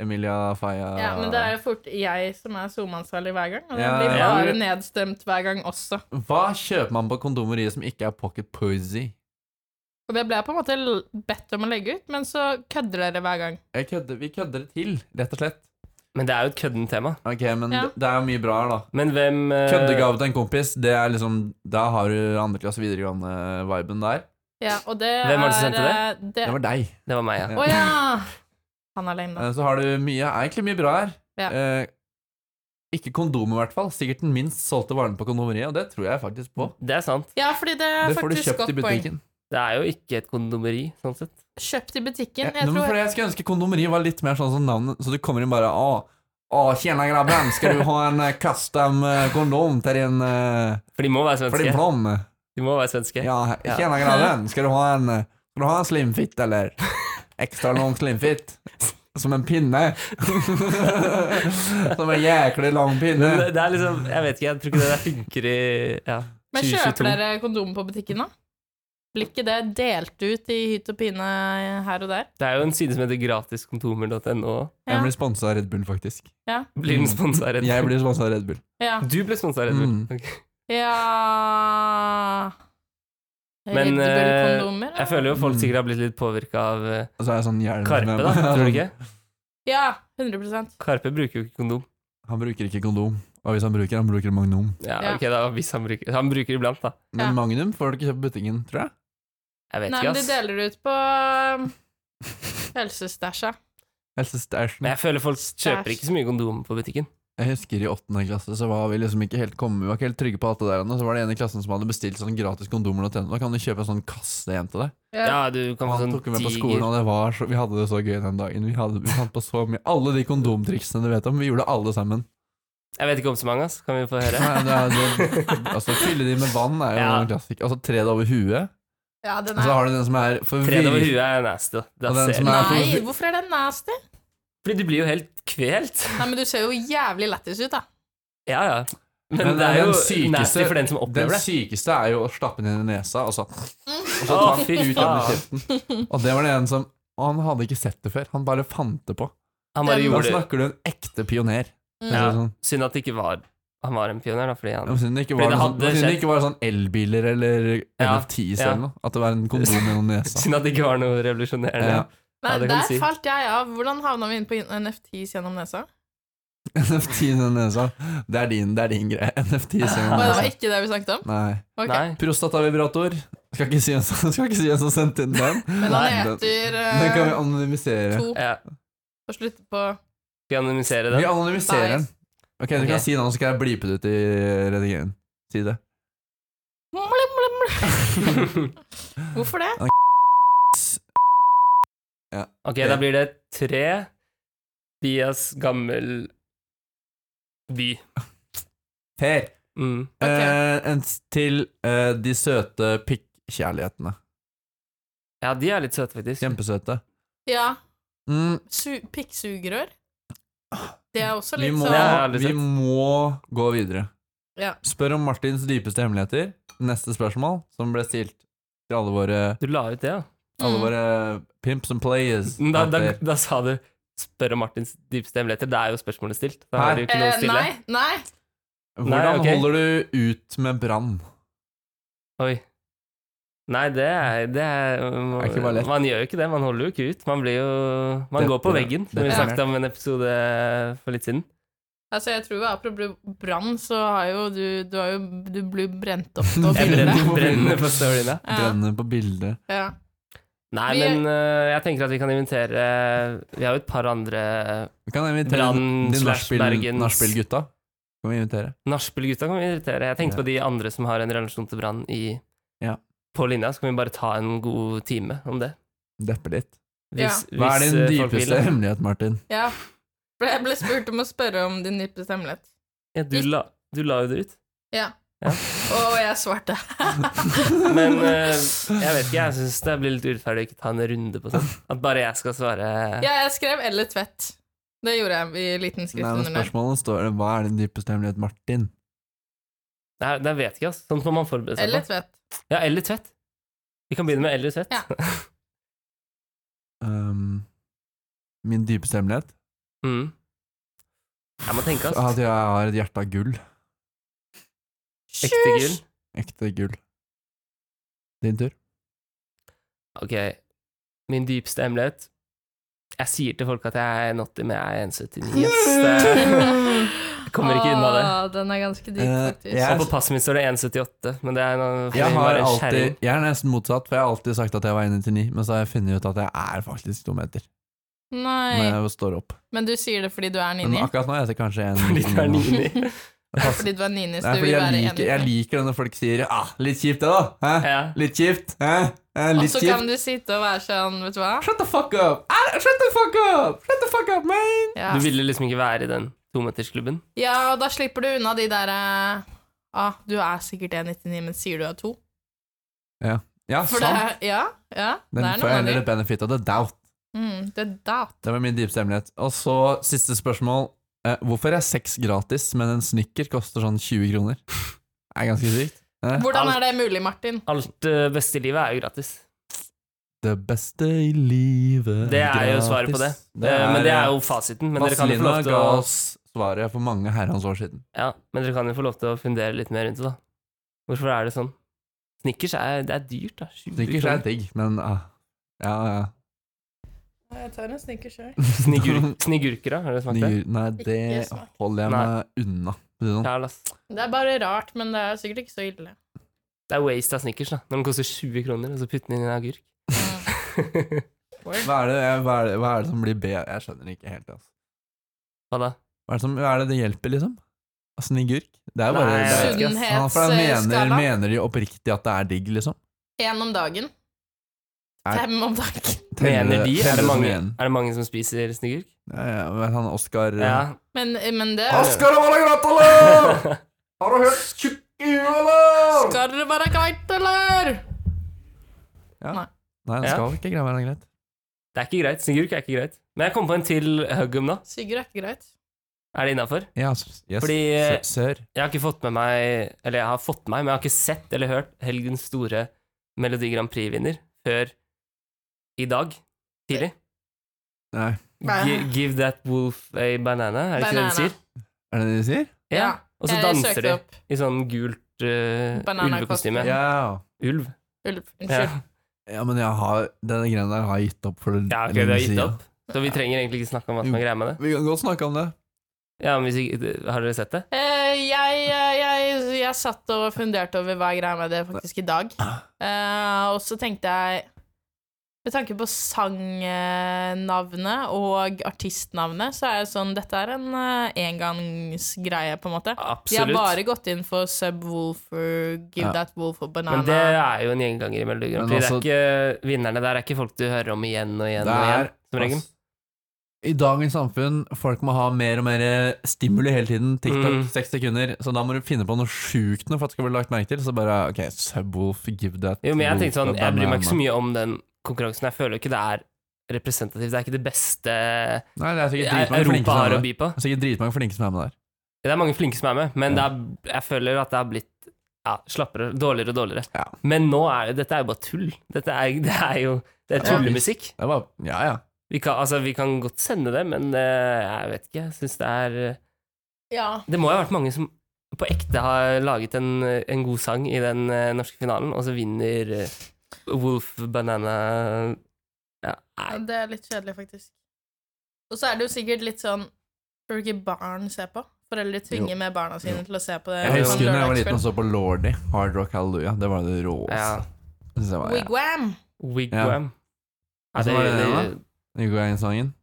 Emilia Faya Ja, men det er jo fort jeg som er SoMe-ansvarlig hver gang, og det Ja, blir ja. bare nedstemt hver gang også. Hva kjøper man på kondomeriet som ikke er pocket poesy? Og det ble jeg på en måte l- bedt om å legge ut, men så kødder dere hver gang. Jeg kødder, vi kødder det til, rett og slett. Men det er jo et kødden tema. Ok, men Ja. det, det er jo mye bra her, da. Men hvem øh, Køddegave til en kompis, det er liksom Da har du andre klasse videregående-viben der. Ja, og det Hvem var det som sendte er, eh, det? Det var deg. Det var meg, ja. Ja. Å ja! [laughs] Han er lame, da. Eh, Så har du mye, er egentlig mye bra her. Ja. Eh, ikke kondom i hvert fall. Sikkert den minst solgte varen på kondomeriet, og det tror jeg faktisk på. Det er sant. Ja, fordi det er Det får du faktisk kjøpt godt i butikken. Det er jo ikke et kondomeri, sånn sett. poeng. Kjøpt i Ja, butikken. men Jeg tror fordi jeg skulle ønske kondomeri var litt mer sånn som navnet, så du kommer inn bare Å, å tjena grabben, skal du ha en eh, custom eh, kondom til din, eh, For de må være for din svenske. plom? De må være svenske. Ja, Ja. tjena grabben, skal du ha en, eh, skal du ha en slimfit, eller? Ekstra lang slimfit. Som en pinne. [laughs] som en jæklig lang pinne. Men det, det er liksom Jeg vet ikke, jeg tror ikke det der funker i ja, Men kjøper 2022. dere kondom på butikken, da? Blir ikke det delt ut i hytt og pine her og der? Det er jo en side som heter gratiskontomer.no. Jeg blir sponsa av Red Bull, faktisk. Ja. Blir den sponsa av Red Mm. Jeg Bull? blir sponsa av Red Bull. Ja. Du ble sponsa av Red Bull. Mm. Ok. ja. Men, Red eh, Bull-kondomer? Jeg føler jo folk Mm. sikkert har blitt litt påvirka av eh, Og så er jeg sånn hjelm Karpe, da. Tror du ikke? [laughs] Ja, 100 Karpe bruker jo ikke kondom. Han bruker ikke kondom. Og hvis han bruker, han bruker Magnum. Ja, Ja. ok da, hvis han bruker Han bruker iblant, da. Men Ja. Magnum får du ikke kjøpt på butikken, tror jeg. Jeg vet Nei, ikke, men de ass. deler ut på [laughs] um, helsestæsja. Helsestasjon. Men jeg føler folk kjøper Stæsj. ikke så mye kondomer på butikken. Jeg husker i åttende klasse så var vi liksom ikke helt kommet, vi var ikke helt trygge på alt det der. ennå. Så var det en i klassen som hadde bestilt sånn gratis kondomer og tenner. Da kan du kjøpe en sånn kasse hjem til deg. Ja, du kan Og få han sånn tok jo med på skolen, diger og det var så, vi hadde det så gøy den dagen. Vi hadde vi fant på så mye. Alle de kondomtriksene du vet om, vi gjorde alle [laughs] sammen. Jeg vet ikke om så mange, ass. Kan vi få høre? Nei, det er, det, altså, fylle de med vann er jo Ja. en klassiker. Altså tre det over huet. Ja, Altså, den Og så er har du den som er for Tred over vir- huet er nasty, da. da. Og den ser som du. er- Nei, hvorfor er den nasty? Fordi du blir jo helt kvelt. Nei, men du ser jo jævlig lættis ut, da. Ja, ja. Men, Men det er jo den sykeste- nasty for den som Den opplever det. sykeste er jo å stappe den inn i nesa, og så, og så Å, ta fy den ut gjennom faen. kjeften. Og det var det en som og Han hadde ikke sett det før. Han bare fant det på. Han bare Den- Da gjorde det. snakker du en ekte pioner. Mm. Ja. Sånn, Synd at det ikke var han var en pioner, da, fordi han Siden det ikke Fordi var, det noe hadde sånn, siden det skjedd. ikke var sånn elbiler eller Ja, NFTs ja. eller noe. At det var en kondom gjennom nesa. [laughs] Synd at det ikke var noe revolusjonerende. Ja. Nei, Ja, det kan der du si. falt jeg av. Hvordan havna vi inn på NFTs gjennom nesa? NFT gjennom nesa. Det er din, det er din greie. Og NFTs gjennom det var nesa. ikke det vi snakket om? Nei. Ok. Nei. Prostatavibrator. Skal ikke si hvem som, [laughs] skal ikke si hvem som sendte inn [laughs] den. Men han Nei, den- heter Den kan vi eh, anonymisere. To Ja. og slutter på Skal jeg anonymisere Vi den? anonymiserer den. Ok, Du Ok. kan si navnet, så skal jeg blipe det ut i redigeringen. Si det. Blim, blim, [laughs] blim. Hvorfor det? Ok, da blir det tre Dias gammel by. Per. Mm. Ok. Eh, en s- til eh, de søte pikkjærlighetene. Ja, de er litt søte, faktisk. Kjempesøte. Ja, Mm, su pikksugerør. Det er også vi, litt må, Det har sånn jeg aldri vi sett. må gå videre. Ja. Spør om Martins dypeste hemmeligheter. Neste spørsmål, som ble stilt til alle våre, Du la ut det, ja. alle mm. våre pimps and players. Men Da, da, At det- da sa du 'spør om Martins dypeste hemmeligheter'. Det er jo spørsmålet stilt. Da Hæ? har du ikke noe å eh, stille. Nei, nei. Hvordan Nei, ok. holder du ut med brann? Oi. Nei, det er, det er, man, er ikke bare lett. Man gjør jo ikke det. Man holder jo ikke ut. Man blir jo Man Det- går på det- veggen, som det- vi Ja. snakket om i en episode for litt siden. Altså, jeg tror apropos brann, så har jo du Du, har jo, du blir brent opp på Jeg Brenne bildet. brenner, på brenner bildet. på storyen, ja. Ja. Brenne på bildet. Ja. Nei, Vi- men øh, jeg tenker at vi kan invitere Vi har jo et par andre Vi kan invitere Brann de slash nachspiel- Bergens- nachspiel-gutta. Kan vi invitere? nachspiel-gutta kan vi invitere. Jeg tenkte Ja. på de andre som har en relasjon til Brann i Ja. på linja. Så kan vi bare ta en god time om det. Deppe litt. Hvis, Hva er hvis, din øh, folk vil. dypeste hemmelighet, Martin? ja. For Jeg ble spurt om å spørre om din dypeste hemmelighet, Ja, du, la, du la jo det ut. og jeg svarte. Men øh, jeg vet ikke, jeg syns det blir litt urettferdig å ikke ta en runde på sånn. At bare jeg skal svare Ja, jeg skrev 'eller tvett'. Det gjorde jeg i liten skrift Nei, men under der. spørsmålet står det, Hva er din dypeste hemmelighet, Martin? Nei, det vet jeg ikke, altså. Sånt må man forberede seg Eller på. tvett. Ja, eller tvett. Vi kan begynne med eller tvett. Ja. Um, min dypeste hemmelighet? Mm. Jeg må tenke, At altså. jeg har et hjerte av gull. Ekte gull. Ekte gull. Din tur. Ok, min dypeste hemmelighet Jeg sier til folk at jeg er notty, men jeg er 1,79. ass. Det er- [laughs] Jeg kommer ikke unna det. Åh, Den er ganske dyp, Eh, faktisk. jeg- Og på passet mitt står det 1,78, men det er noe, Jeg, var har en alltid, skjerring. [laughs] jeg er nesten motsatt, for jeg har alltid sagt at jeg var 1,99, men så har jeg funnet ut at jeg er faktisk to meter når Nei, jeg står opp. men du sier det fordi du er Men nini? akkurat nå er jeg kanskje en [laughs] Fordi du er nå. nini. Det passer- Fordi du er nini, så Nei, du vil fordi jeg være liker, jeg enig. liker det når folk sier ah, 'litt kjipt', det, da. Hæ? Ja. Litt kjipt? Hæ? Hæ? Og Litt så kjipt? kan du sitte og være sånn, vet du hva? Shut the fuck up! Ah, Shut the fuck up! Shut the fuck up, man! Ja, Du ville liksom ikke være i den tometersklubben. ja og da slipper du unna de der eh, Ah, du er sikkert 1,99, men sier du er 2? Ja, For det sant. er, ja, ja, det Den er får jeg noen av heller de. et benefit of the doubt. Mm, det er dat. Det var min dypeste hemmelighet. Og så siste spørsmål. Eh, hvorfor er sex gratis, men en snicker koster sånn 20 kroner? Det er ganske sykt. Hvordan er det mulig, Martin? Alt eh, beste i livet er jo gratis. Det beste i livet Det er jo svaret på det. Eh, men det er jo fasiten. Men dere, kan jo få Vazelina lov til ga å, oss svaret for mange herrens år siden. ja, men dere kan jo få lov til å fundere litt mer rundt det, da. Hvorfor er det sånn? Snickers er, det er dyrt, da. 20 Snickers er kroner. digg, men ah, ja, ja. Jeg tar en snickers sjøl. Snigur- Snigurker, da? Har dere smakt det? Ny- Nei, det Ikke smak. holder jeg meg unna. for å si det sånn. Ja, lass. Det er bare rart, men det er sikkert ikke så [laughs] ille. Det er waste av Snickers, da. Når den koster 20 kroner, og så putter den inn en agurk. [laughs] Hva er det, hva er det, hva er det som blir bedre? Jeg skjønner ikke helt. Altså. Hva da? Hva, er det som, hva er det det hjelper, liksom? Altså, Snigurk? Det er jo bare Nei, det jeg er, vet ikke, ass. Ja, for da mener, Sunnhetsskala. mener de oppriktig at det er digg, liksom? Én om dagen. Er- Fem om dagen. Teller- Mener de? teller Er det, som mange, en. er det mange som spiser snigurk? Ja, ja, men han Oskar Ja. Men, men det Asker og Valagratala! Har du hørt tjukk i huet, eller? Skal det være greit, eller? Nei, det Ja. skal ikke greie være greit. Det er ikke greit. Snigurk er ikke greit. Men jeg kom på en til huggum, da. Sigurd er ikke greit. Er det innafor? Ja, s- yes. Fordi, eh, Sø- Sør. Jeg har ikke fått med meg Eller jeg har fått med meg, men jeg har ikke sett eller hørt helgens store Melodi Grand Prix-vinner før i dag tidlig. Nei. Gi- give that wolf a banana, er det ikke det de sier? Er det det de sier? Ja. Og så Jeg søkte danser de opp i sånn gult eh, Banana ulvekostyme. Ja. Ulv. ulv. Ja. Unnskyld. ja, men jeg har denne greia der har jeg gitt opp for ja, ok, du lenge har gitt siden. opp. Så vi trenger egentlig ikke snakke om hva som er greia med det. Vi kan godt snakke om det. Ja, men hvis ikke, Har dere sett det? Eh, jeg, eh, jeg, jeg satt og funderte over hva greia med det faktisk i dag. Ah. Eh, og så tenkte jeg Med tanke på sangnavnet og artistnavnet, så er det sånn Dette er en eh, engangsgreie, på en måte. De har Absolutt. bare gått inn for Subwoolfer, Give Ja. That Wolf og Banana. Men det er jo en gjenganger i Melodi Grand Men altså- Prix. det er ikke, vinnerne der er ikke folk du hører om igjen og igjen Det og igjen, er- som regel. ass, I dagens samfunn, folk må ha mer og mer eh, stimuli hele tiden. Mm. TikTok, seks sekunder. Så da må du finne på noe sjukt noe for at det skal bli lagt merke til. Så bare ok, Subwolf, give that Jo, men jeg tenkte sånn, wolf a jeg bryr meg ikke så banana. mye om den konkurransen. Jeg føler jo ikke det er representativt. Det er ikke det beste Nei, det er sikkert dritmange flinke Europa som har er å med. by på. Det er sikkert dritmange flinke som er med der. Det er mange flinke som er med, men det Ja. er, jeg føler at det har blitt ja, slappere, dårligere og dårligere. Ja. Men nå er jo dette er jo bare tull. Dette er, det er jo det er Ja. tullemusikk. Det er bare, ja, ja. Vi kan, altså, vi kan godt sende det, men eh, jeg vet ikke. Jeg syns det er eh, Ja. Det må jo ha vært mange som på ekte har laget en, en god sang i den eh, norske finalen, og så vinner eh, Wolf Banana ja, Ja, nei. det er litt kjedelig, faktisk. Og så er det jo sikkert litt sånn Bør ikke barn se på? Foreldre tvinger med barna sine til å se på det. Ja, Jeg ja. husker da jeg var liten og lørdagskveld. så på Lordy, Hard Rock Hallelujah. Det var det Ja. råeste. Det synes jeg var- Ja. Wigwam! Wigwam. Ja, Hva det, var det det, igjen Ugoyan-sangen.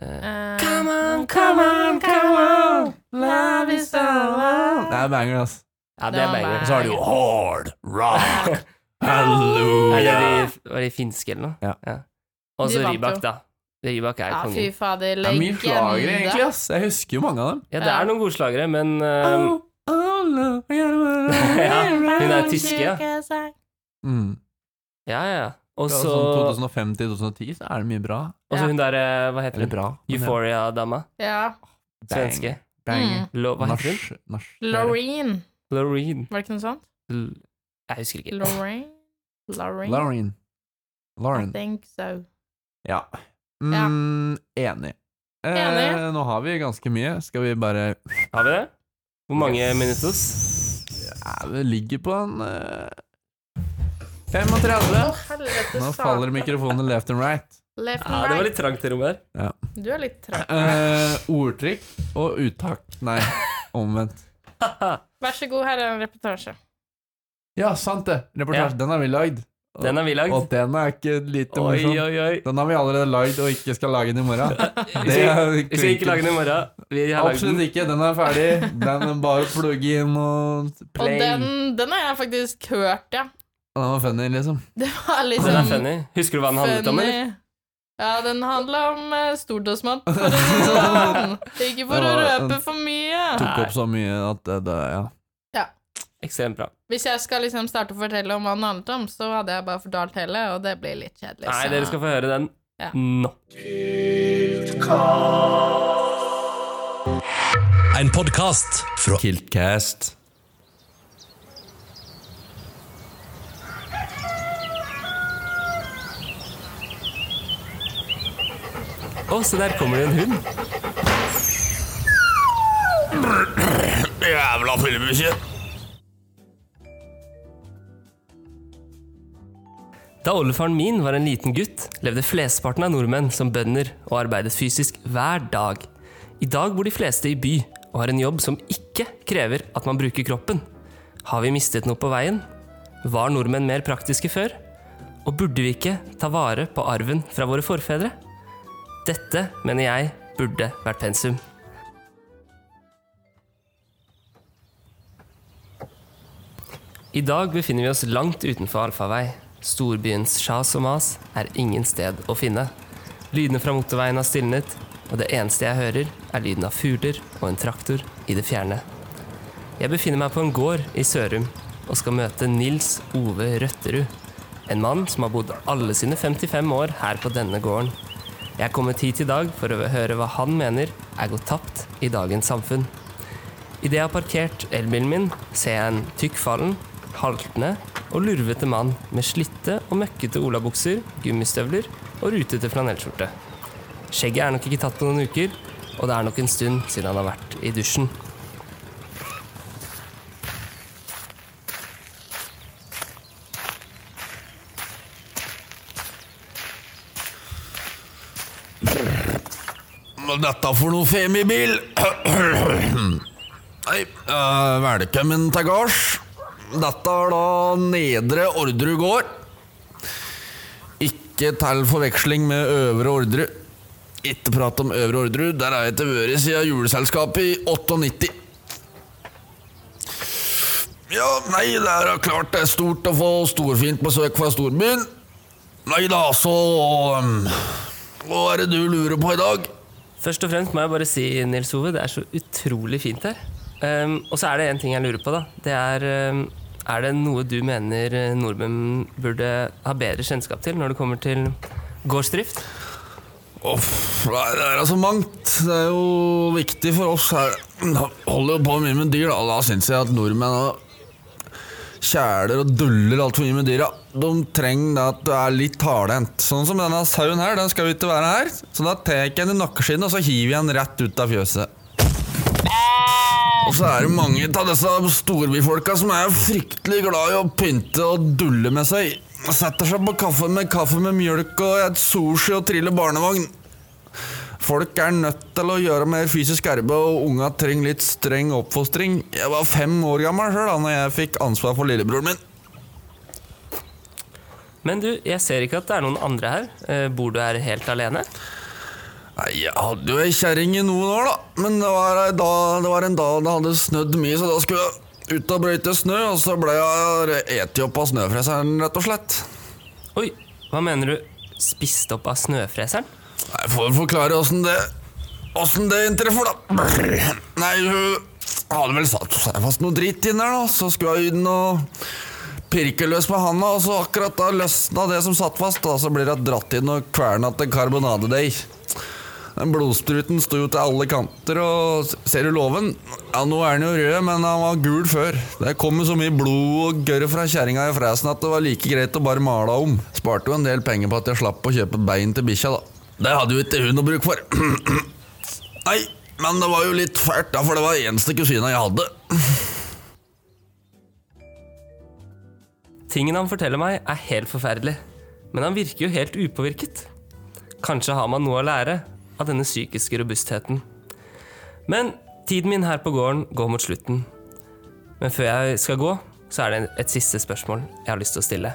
eh, Eh, Come on, come on, come on! Love is all Det er banger, ass. Ja, det er banger. Og så har de jo Hard Rock Hallelujah. Er det de, var de finske eller noe? Ja. Og så De vant Rybak, jo. da. Rybak er Ja, fy kongen. fader, Det er mye slagere, [laughs] egentlig. legende. ass Jeg husker jo mange av dem. Ja, det er noen gode slagere, men eh, Oh, oh, love, yeah, [laughs] well, Ja, hun er Round tyske, [laughs] ja. circle side. mm. Ja, ja. Og Det er så Sånn 2005 til 2010 så er det mye bra. og så hun der, eh, hva heter Eller hun? bra. men ja. Euphoria-dama. Ja. Bang. Svenske. Bang. Lo, hva heter hun? Nach. Nach. Loreen, Loreen. var det ikke noe sånt? L jeg husker ikke. Loreen? Loreen? Lauren. I Lauren. think so. Ja. Mm, enig. Eh, Enig. nå har vi ganske mye. Skal vi bare Har vi det? Hvor mange minutter? ja, Vi ligger på en eh, 35. Å, helvete Nå faller satan. mikrofonen left and right. Left Ja, and Ah, det var right. litt trangt i rommet her. Du er litt trøtt. Eh, ordtrykk og uttak. Nei, omvendt. Vær så god, her er en reportasje. Ja, sant det! Reportasje. Den har vi lagd. Den har vi lagd. Og den er ikke lite Oi, morsom. oi, oi. Den har vi allerede lagd og ikke skal lage den i [laughs] morgen. Vi skal, er vi skal ikke lage den i morgen. Vi har lagd den. Absolutt ikke. Den er ferdig. Den er bare å plugge inn og Og play. den, den har jeg faktisk hørt, ja. Den var funny, liksom. Det var liksom Den er funny. Husker du hva den handlet om, eller? funny. Ja, den handla om eh, stort og [laughs] smått, for å si det sånn. Ikke for å Det var røpe en- for mye. Tok opp så mye at det, det ja. Ekstremt bra. Hvis jeg skal liksom starte å fortelle om hva den handlet om, så hadde jeg bare fortalt hele, og det blir litt kjedelig. Nei, så- dere skal få høre den Ja. nå. En podkast fra Kiltcast. Å, se der kommer det en hund. Jævla fyllebukkje. Da oldefaren min var en liten gutt, levde flesteparten av nordmenn som bønder og arbeidet fysisk hver dag. I dag bor de fleste i by og har en jobb som ikke krever at man bruker kroppen. Har vi mistet noe på veien? Var nordmenn mer praktiske før? Og burde vi ikke ta vare på arven fra våre forfedre? Dette, mener jeg, burde vært pensum. I dag befinner vi oss langt utenfor allfarvei. Storbyens sjas og mas er ingen sted å finne. Lydene fra motorveien har stilnet, og det eneste jeg hører, er lyden av fugler og en traktor i det fjerne. Jeg befinner meg på en gård i Sørum og skal møte Nils Ove Røtterud. En mann som har bodd alle sine 55 år her på denne gården. Jeg er kommet hit i dag for å høre hva han mener er gått tapt i dagens samfunn. Idet jeg har parkert elbilen min, ser jeg en tykkfallen, haltende og lurvete mann med slitte og møkkete olabukser, gummistøvler og rutete flanellskjorte. Skjegget er nok ikke tatt på noen uker, og det er nok en stund siden han har vært i dusjen. Hva er dette for noe femibil? [clears throat] Hei, eh, velkommen til gards. Dette er da Nedre Orderud gård. Ikke til forveksling med Øvre Orderud. Ikke prat om Øvre Orderud, der har jeg ikke vært siden juleselskapet i 98. Ja, nei, det er klart det er stort å få storfint besøk fra storbyen. Nei da, så um, Hva er det du lurer på i dag? Først og fremst må jeg bare si, Nils Ove, det er så utrolig fint her. Ehm, og så er det en ting jeg lurer på, da. Det er ehm, Er det noe du mener eh, nordmenn burde ha bedre kjennskap til når det kommer til gårdsdrift? Uff, nei, det er altså mangt. Det er jo viktig for oss her. Holder jo på mye med dyr, da. Da syns jeg at nordmenn er kjæler og duller altfor mye med dyra. De trenger det at du er litt hardhendt. Sånn som denne sauen her, den skal jo ikke være her. Så da tar jeg den i nakkeskinnet, og så hiver jeg den rett ut av fjøset. Og så er det mange av disse storbyfolka som er fryktelig glad i å pynte og dulle med seg. Setter seg på kaffe med kaffe med mjølk og et sushi og triller barnevogn. Folk er nødt til å gjøre mer fysisk arbeid, og unga trenger litt streng oppfostring. Jeg var fem år gammel sjøl da jeg fikk ansvar for lillebroren min. Men du, jeg ser ikke at det er noen andre her. Eh, Bor du her helt alene? Nei, Jeg hadde jo ei kjerring i noen år, da. Men det var, ei da, det var en dag det hadde snødd mye, så da skulle jeg ut og brøyte snø, og så ble jeg eti opp av snøfreseren, rett og slett. Oi, hva mener du? Spist opp av snøfreseren? Jeg får forklare åssen det Åssen det inntreffer, da. Brr. Nei, hun hadde vel satt seg fast noe dritt inn der, da. Så skulle hun inn og pirke løs med handa, og så akkurat da løsna det som satt fast, da, så blir hun dratt inn og kverna til karbonadedeig. Den blodspruten sto jo til alle kanter, og ser du låven? Ja, nå er den jo rød, men han var gul før. Det kom jo så mye blod og gørr fra kjerringa i fresen at det var like greit å bare male henne om. Sparte jo en del penger på at jeg slapp å kjøpe bein til bikkja, da. Det hadde jo ikke hun noe bruk for. [clears throat] Nei, men det var jo litt fælt, da, for det var eneste kusina jeg hadde. Tingen han forteller meg, er helt forferdelig. Men han virker jo helt upåvirket. Kanskje har man noe å lære av denne psykiske robustheten. Men tiden min her på gården går mot slutten. Men før jeg skal gå, så er det et siste spørsmål jeg har lyst til å stille.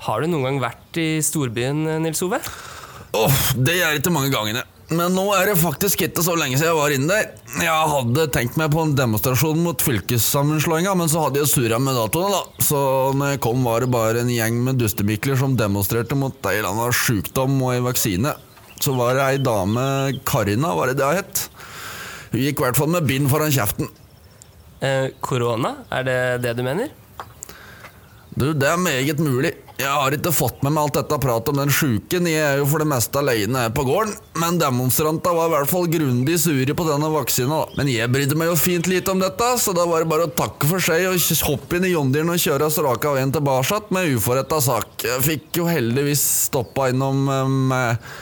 Har du noen gang vært i storbyen, Nils Ove? Åh, det er ikke mange gangene. Men nå er det faktisk ikke så lenge siden jeg var inne der. Jeg hadde tenkt meg på en demonstrasjon mot fylkessammenslåinga, men så hadde jeg surra med datoene, da. Så når jeg kom, var det bare en gjeng med dustemikler som demonstrerte mot en eller annen sjukdom og en vaksine. Så var det ei dame, Karina, var det det hun het? Hun gikk i hvert fall med bind foran kjeften. Eh, Korona, er det det du mener? Du, det er meget mulig. Jeg har ikke fått med meg alt dette pratet om den sjuken. Jeg er jo for det meste alene her på gården, men demonstrantene var i hvert fall grundig sure på denne vaksina. da. Men jeg brydde meg jo fint lite om dette, så da var det bare å takke for seg og kj- hoppe inn i John Deeren og kjøre oss raka veien tilbake med uforretta sak. Jeg fikk jo heldigvis stoppa innom em, eh,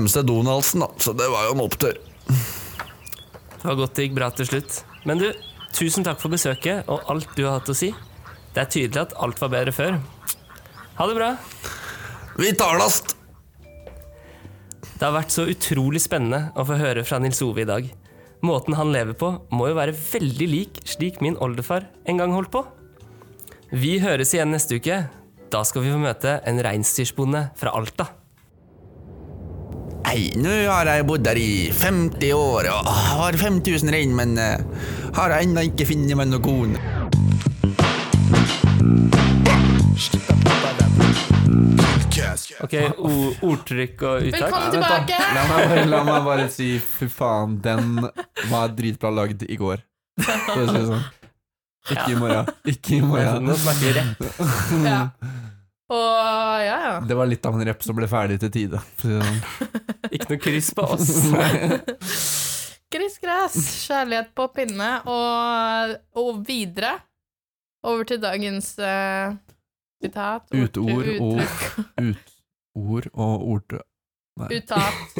MC Donaldsen, da, så det var jo en opptur. Det var godt det gikk bra til slutt. Men du, tusen takk for besøket og alt du har hatt å si. Det er tydelig at alt var bedre før. Ha det bra. Vi talast! Det har vært så utrolig spennende å få høre fra Nils Ove i dag. Måten han lever på, må jo være veldig lik slik min oldefar en gang holdt på. Vi høres igjen neste uke. Da skal vi få møte en reinsdyrbonde fra Alta. Nei, nå har jeg bodd her i 50 år og har 5000 rein, men eh, har ennå ikke funnet meg noen kone. Ok, o Ordtrykk og uttak. Velkommen Vent da, tilbake! La meg, bare- la meg bare si fy faen, den var dritbra lagd i går. For å si det sånn. Ikke i morgen. Ikke i morgen. Nå snakker vi rett. [laughs] Ja. Og ja, ja. Det var litt av en rep som ble ferdig til tide. for å si det sånn. Ikke noe kryss på oss. Grissgress, kjærlighet på pinne, og, og videre over til dagens eh, sitat. ord- Uteord og uttrykk, ut, ord og ord [laughs] Uttat.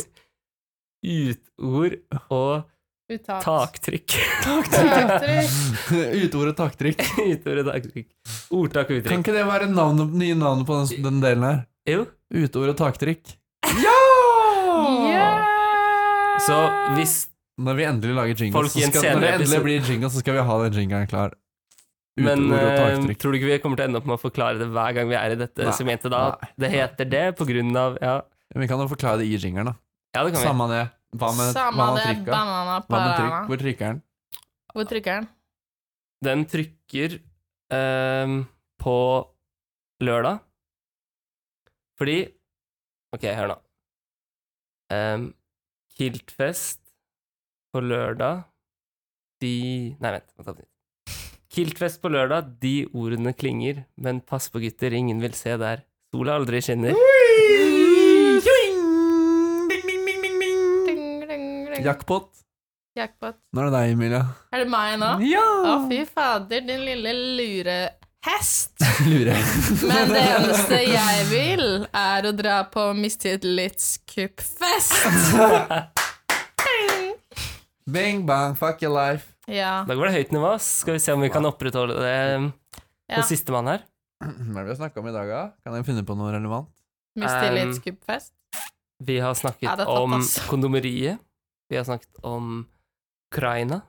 Utord og Uttat. [laughs] taktrykk. [laughs] [laughs] Taktrykk. Uteord og taktrykk. Utord og taktrykk. Ordtak og Kan uttrykk. ikke det være navnet, nye navnet på den, den delen her? Jo. Uteord og taktrykk. Yeah! Så hvis Når vi endelig lager jingle, Folk så i en skal, når det senere endelig episode- blir jingle, så skal vi ha den jinglen klar. Uteord Men og eh, taktrykk. tror du ikke vi kommer til å ende opp med å forklare det hver gang vi er i dette Nei, segmentet da? at nei, Det heter det på grunn av Ja, Men Vi kan jo forklare det i jingeren, da. ja det kan vi. Samme det. Hva med, hva Samme med det, trykka? banana Hva med trykk? parana. Hvor trykker den? Hvor trykker den? Den trykker ehm, på lørdag. Fordi Ok, hør nå. Um, Kiltfest på lørdag De Nei, vent. må ta på nytt. Kiltfest på lørdag, de ordene klinger, men pass på, gutter, ingen vil se der. Sola aldri skinner. Ding, ding, ding. Jackpot. Jackpot. Nå er det deg, Emilia. Er det meg nå? Ja! Å, fy fader, din lille lurehest. [laughs] Lurer. Men det eneste jeg vil, er å dra på mistillitskuppfest. Bing bang, fuck your life. Ja. [laughs] Da går det høyt nivå. ass. Skal vi se om vi kan opprettholde det ehm, på Ja. sistemann her. Hva er det vi har snakka om i dag, da? Kan jeg finne på noe relevant? Mistillitskuppfest. Vi har snakket Ja, det er tatt, om ass. [laughs] kondomeriet. Vi har snakket om Ukraina.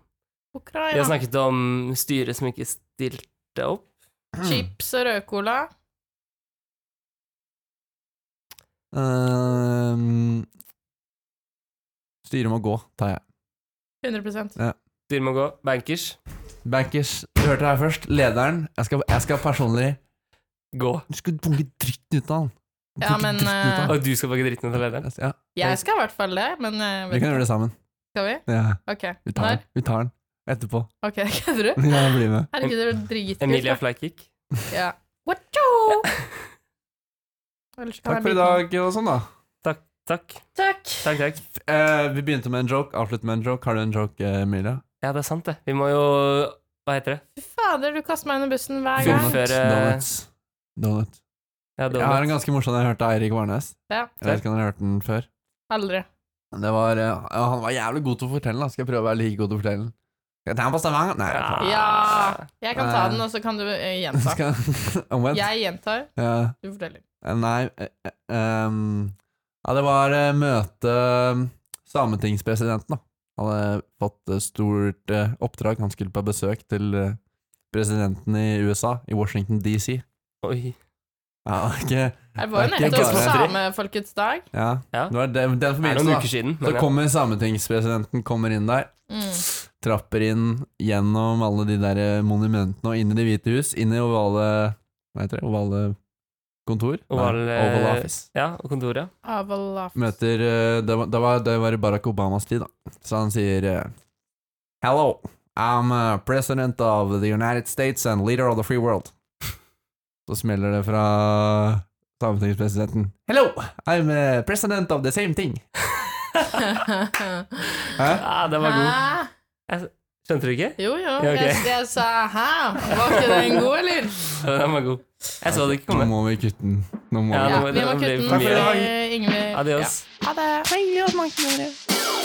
Vi har Ukraina. snakket om styret som ikke stilte opp. Mm. Chips og rødcola. [clears throat] Ehm, styret må gå, tar jeg. 100 Styret må gå. Bankers, Bankers, du hørte det her først. Lederen. Jeg skal, jeg skal personlig gå. Du skal punge dritten ut av han. Ja, Punge men, dritten ut av han. Og du skal pakke dritten ut av [laughs] lederen. Ja, Jeg skal i hvert fall det, men eh, vi vet kan ikke. gjøre det sammen. Skal vi? Ja, Ok. vi tar Når? den. Vi tar den etterpå. [laughs] Ok, [laughs] kødder du? Ja, bli med. Herregud, det blir dritkult. Emilia Flykick. Ja. [laughs] Wacho! Ellers kan Takk jeg for i bite meg. dag og sånn, da. Takk, takk. Takk. Takk, takk. Eh, vi begynte med en joke, avslutt med en joke. Har du en joke, eh, Emilia? Ja, det er sant, det. Vi må jo Hva heter det? Fy fader, du kaster meg under bussen hver gang. Fullfør. Fullføre- Donuts. Donut. Ja, Jeg har en ganske morsom jeg hørte av Eirik Varnes. Ja. Jeg vet ikke om dere har hørt den før. Aldri. Det var, eh, ja, han var jævlig god til å fortelle, da. Skal jeg prøve å være like god til å fortelle den? Skal jeg ta den [laughs] på Stavanger? Nei. jeg klarer Ja. Jeg kan ta Eh. den, og så kan du eh, ikke. gjenta. Skal- Omvendt. Jeg gjentar, Ja. du forteller. Eh, Nei eh, eh, ehm, Ja, det var eh, møte eh, sametingspresidenten, da. Han hadde fått eh, stort eh, oppdrag. Han skulle på besøk til eh, presidenten i USA, i Washington DC. Oi. Ja, [laughs] ikke, Det var jo Det er ikke nettopp bare- samefolkets dag. ja. Ja. Det var den, den Det er noen uker forbindelsen, da. siden. Så Men ja. kommer sametingspresidenten kommer inn der, Mm. trapper inn gjennom alle de der eh, monumentene og inn i Det hvite hus, inn i ovale Hva heter det? Ovale kontor? Nei, Oval, eh, Oval Office. ja, og kontoret. Avalaf. [laughs] møter eh, det, var, det, var, det var i Barack Obamas tid, da. Så han sier eh, Hello, I'm uh, president of the United States and leader of the free world. [laughs] Så smeller det fra sametingspresidenten. Hello, I'm eh, president of the same thing. Hæ? Ja, den var god. Hæ? Skjønte du ikke? Jo, jo. Ja, ok. Jeg, jeg sa hæ? Var ikke den god, eller? Ja, den var god. Jeg så det ikke Nå komme. må vi kutte den. Nå må Ja, vi. det Ja, var- vi det må ble kutte for den. mye. Eh, Ingvild. Adios. Ja. Ha det.